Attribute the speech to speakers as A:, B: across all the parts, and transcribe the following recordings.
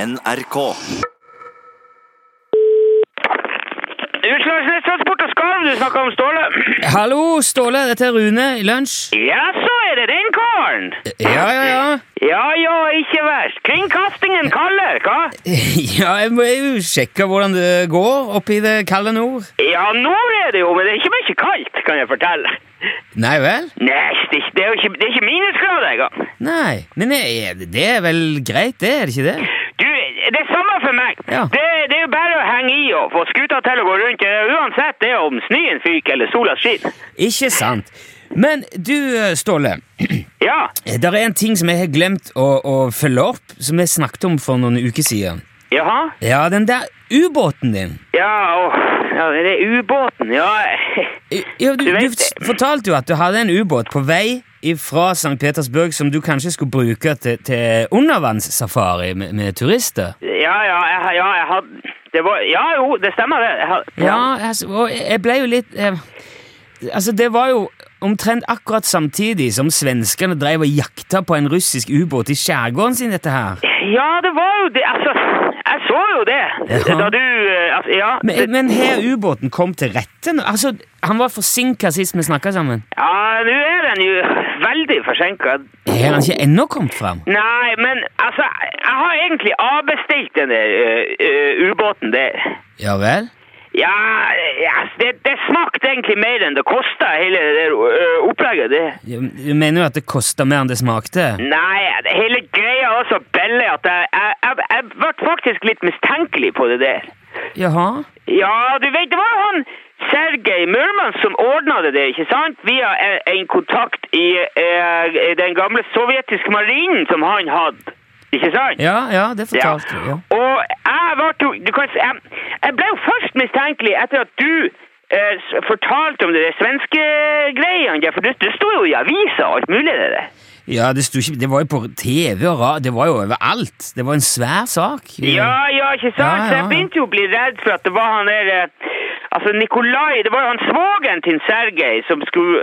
A: NRK.
B: Utslagsnes Transport og Skarv, du snakker om Ståle.
C: Hallo, Ståle. Dette er Rune i lunsj.
B: Ja, så er det den karen!
C: Ja, ja, ja.
B: Ja, ja, ikke verst. Kringkastingen kaller, hva?
C: Ja, jeg må jo sjekke hvordan det går oppe i det kalde nord.
B: Ja, nord er det jo, men det er ikke mye kaldt, kan jeg fortelle.
C: Nei vel?
B: Nei, det er ikke- det er jo ikke, det er ikke minusgrader engang.
C: Nei. Men er det det er vel greit, det? Er det ikke det?
B: Du, det er samme for meg.
C: Ja.
B: Det, det er jo bare å henge i og få skuta til å gå rundt, det er uansett det om snøen fyker eller sola skinner.
C: Ikke sant. Men du, Ståle.
B: Ja,
C: Der er en ting som jeg har glemt å, å følge opp, som jeg snakket om for noen uker siden.
B: jaha.
C: Ja, den der ubåten din.
B: Ja, og ja, det er ubåten, ja.
C: Ja, du,
B: Du
C: du
B: vet
C: s- fortalte jo at du hadde en ubåt på vei fra St. Petersburg som du kanskje skulle bruke til, til undervannssafari med, med turister.
B: Ja, ja, jeg, ja, jeg hadde det var, Ja, jo, det stemmer, det. Jeg hadde,
C: Ja, altså, og jeg ble jo litt eh, Altså, det var jo omtrent akkurat samtidig som svenskene drev og jakta på en russisk ubåt i skjærgården sin, dette her.
B: ja, det var jo det. Altså, jeg så jo det
C: Ja.
B: da du eh, altså, Ja, det,
C: Men, men her ubåten kom til rette nå? Altså, han var forsinka sist vi snakka sammen.
B: ja nå er den jo veldig forsinka.
C: Har han ikke ennå kommet fram?
B: Nei, men altså, jeg har egentlig avbestilt den der eh, eh, ubåten der.
C: Ja vel?
B: Ja, ja altså, det, det smakte egentlig mer enn det kosta, hele det der eh, opplegget. det.
C: Jeg- Du mener jo at det kosta mer enn det smakte?
B: Nei, det- hele greia var så billig at jeg, jeg, jeg, jeg ble faktisk litt mistenkelig på det der.
C: Jaha?
B: Ja, du vet, det var jo han Sergej Murman som ordna det, der, ikke sant? Via en, en kontakt i eh, den gamle sovjetiske marinen som han hadde. Ikke sant?
C: Ja, ja, det fortalte du. Ja.
B: Og jeg var jo du kan, si- jeg, jeg ble jo først mistenkelig etter at du eh, s- fortalte om det der svenske greiene. der, For det, det sto jo i avisa og alt mulig, det der.
C: ja, det sto ikke Det var jo på TV og radio, det var jo overalt. Det var en svær sak.
B: Ja, ja, ikke sant?
C: Ja, ja,
B: Så jeg
C: ja.
B: begynte jo å bli redd for at det var han der eh, Altså, Nikolai Det var jo han svogeren til Sergej som skulle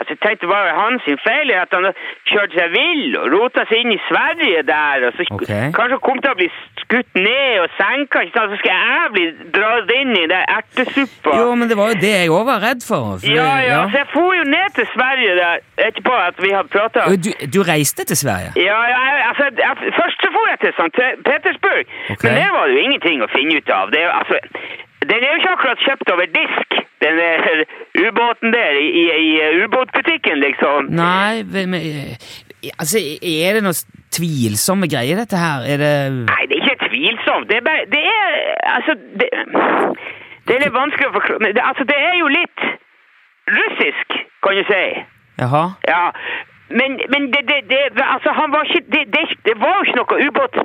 B: Altså, jeg tenkte det var jo hans sin feil at han kjørte seg vill og rota seg inn i Sverige der, og så sk-
C: Ok.
B: kanskje han kom til å bli skutt ned og senka, ikke sant? Så skal jeg bli dratt inn i den ertesuppa.
C: Jo, men det var jo det jeg òg var redd for. for
B: ja, ja, så jeg for jo ned til Sverige der etterpå at vi hadde prata.
C: Og Du, du reiste til Sverige?
B: Ja, ja, jeg- altså, jeg, først så for jeg til St. Petersburg,
C: Ok.
B: men der var det jo ingenting å finne ut av. Det, er jo, altså, den er jo ikke akkurat kjøpt over disk, den der ubåten der i, i, i ubåtbutikken, liksom.
C: Nei, ve- men eh, Altså, er det noen tvilsomme greier, dette her? Er det
B: Nei, det er ikke tvilsomt. Det er bare, det er, altså, det, det er litt vanskelig å forklare, men det, altså, det er jo litt russisk, kan du si.
C: Jaha?
B: Ja, men, men det, det, det, altså, han var ikke, det, det, det var jo ikke noe ubåt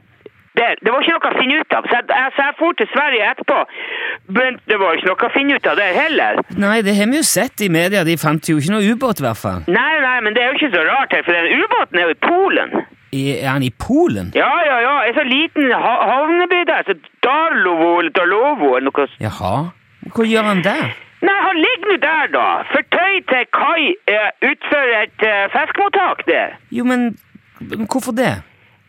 B: der. Det var ikke noe å finne ut av. Så jeg, altså, jeg for til Sverige etterpå, men det var ikke noe å finne ut av der heller.
C: Nei, det har vi jo sett i media. De fant jo ikke noe ubåt, i hvert fall.
B: Nei, nei, men det er jo ikke så rart her, for den ubåten er jo i Polen.
C: I- Er han i Polen?
B: Ja, ja, ja, en sånn liten ha- havneby der, så Darlovo eller Dalovo eller noe. s-
C: Jaha? Hva gjør han der?
B: Nei, han ligger nå der da, fortøy til kai eh, utfor et eh, fiskemottak der.
C: Jo, men men hvorfor det?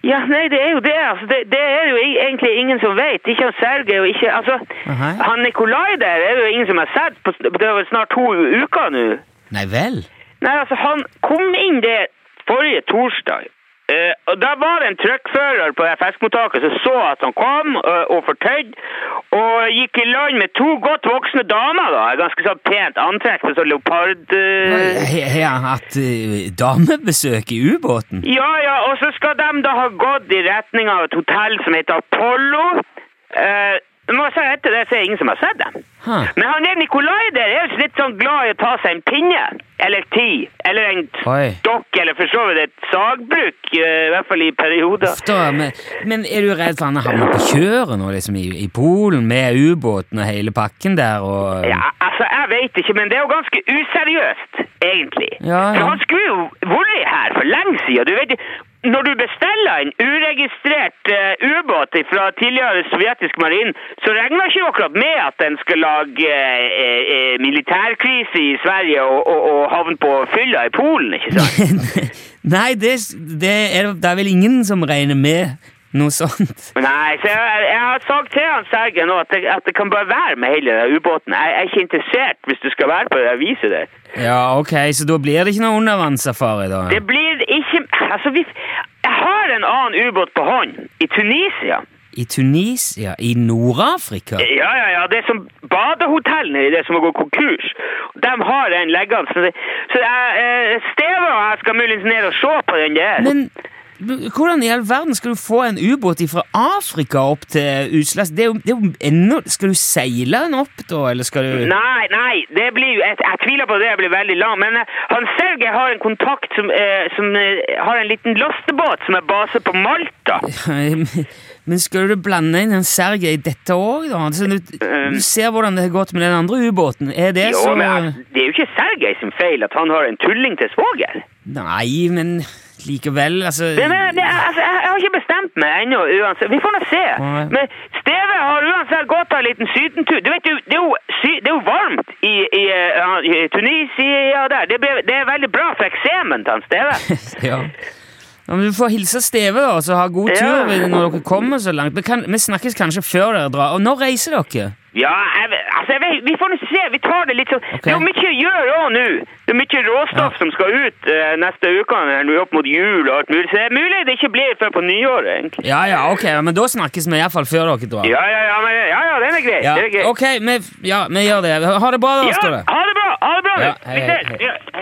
B: Ja, nei, det er jo det. Altså, det, det er jo i- egentlig ingen som vet. Ikke han Sergej og ikke Altså,
C: Nei.
B: han Nikolai der er jo ingen som har sett på Det er vel snart to u- uker nå.
C: Nei vel?
B: Nei, altså, han kom inn der forrige torsdag. Eh, og Da var det en trøkkfører på det fiskemottaket som så at han kom eh, og fortøyd, og gikk i land med to godt voksne damer, da. Ganske sånn pent antrekk med sånn leopard... eh,
C: Har har han hatt eh, damebesøk i ubåten?
B: Ja, ja, og så skal de da ha gått i retning av et hotell som heter Apollo. Eh, må jeg si etter det, så er det ingen som har sett dem.
C: Hæ.
B: Men han der Nikolai der er jo litt sånn glad i å ta seg en pinne, eller ti, eller en
C: Oi.
B: stokk, eller for så vidt et sagbruk, eh, i hvert fall i perioder.
C: Uff da, men, men er du redd for han havner på kjøret nå, liksom, i, i Polen med ubåten og hele pakken der og
B: Ja, altså, jeg vet ikke, men det er jo ganske useriøst, egentlig.
C: Ja, ja.
B: For han skulle jo vært her for lenge siden. Du vet, når du bestiller en uregistrert eh, ubåt fra tidligere sovjetisk marin, så regner ikke du akkurat med at den skal lage eh, eh, eh, militærkrise i Sverige og, og, og havne på fylla i Polen, ikke sant?
C: Nei, det, det, er, det er vel ingen som regner med Noe sånt.
B: Men Nei, så jeg, jeg har sagt til han Sergen nå at, det- at det kan bare være med hele den ubåten. Jeg, jeg er ikke interessert hvis du skal være på det viset der.
C: Ja, ok, så da blir det ikke noe undervannssafari, da?
B: Det blir ikke Altså, vi Jeg har en annen ubåt på hånd. I Tunisia.
C: I Tunisia? I Nord-Afrika?
B: Ja, ja, ja. Det er som badehotellene i det som har gått konkurs. De har den leggende. Så, det- så jeg, eh, Steve og jeg skal muligens ned og se på den der.
C: Men men hvordan i all verden skal du få en ubåt fra Afrika opp til Utslags? Det er jo, det er jo ennå Skal du seile den opp, da, eller skal du
B: Nei, nei, det blir jo jeg, jeg tviler på det, det blir veldig lang. Men eh, han Sergej har en kontakt som, eh, som eh, har en liten lastebåt som er base på Malta.
C: Men skal du blande inn en Sergej dette òg, da? Altså, du, du ser hvordan det har gått med den andre ubåten. Er det
B: Eh, Jo,
C: så
B: men eh, det er jo ikke Sergej sin feil at han har en tulling til svoger.
C: Nei, men likevel, altså
B: Det, det, det, altså, jeg, jeg har ikke bestemt meg ennå, uansett. Vi får nå se.
C: Nei.
B: Men Steve har uansett gått av en liten sydentur. Du vet jo, det er jo, sy- det er jo varmt i, i, eh, i Tunisia og der. Det, blir- det er veldig bra for eksemen til han Steve.
C: ja. Ja, men Du får hilse Steve da, og så ha god
B: Ja.
C: tur ved- når dere kommer så langt. Vi, kan, vi snakkes kanskje før dere drar. Og når reiser dere?
B: Ja, jeg, vet- altså, jeg vet, vi får nå se. Vi tar det litt sånn.
C: Ok.
B: Det er jo mye å gjøre òg nå. Det er mye råstoff
C: Ja.
B: som skal ut eh, neste uke, nå opp mot jul og alt mulig. Så det er mulig det ikke blir før på nyåret, egentlig.
C: Ja, ja, ok, men da snakkes vi iallfall før dere drar.
B: Ja, ja, ja, men, ja, ja den er grei.
C: Ja,
B: Den er grei.
C: ok, vi, ja, vi gjør det. Ha det bra, da,
B: Ja,
C: Ståle.
B: ha det bra! Ha det bra!
C: Ja,
B: Ja,
C: hei,
B: vi
C: hei,
B: ses!
C: hei.
B: Ja.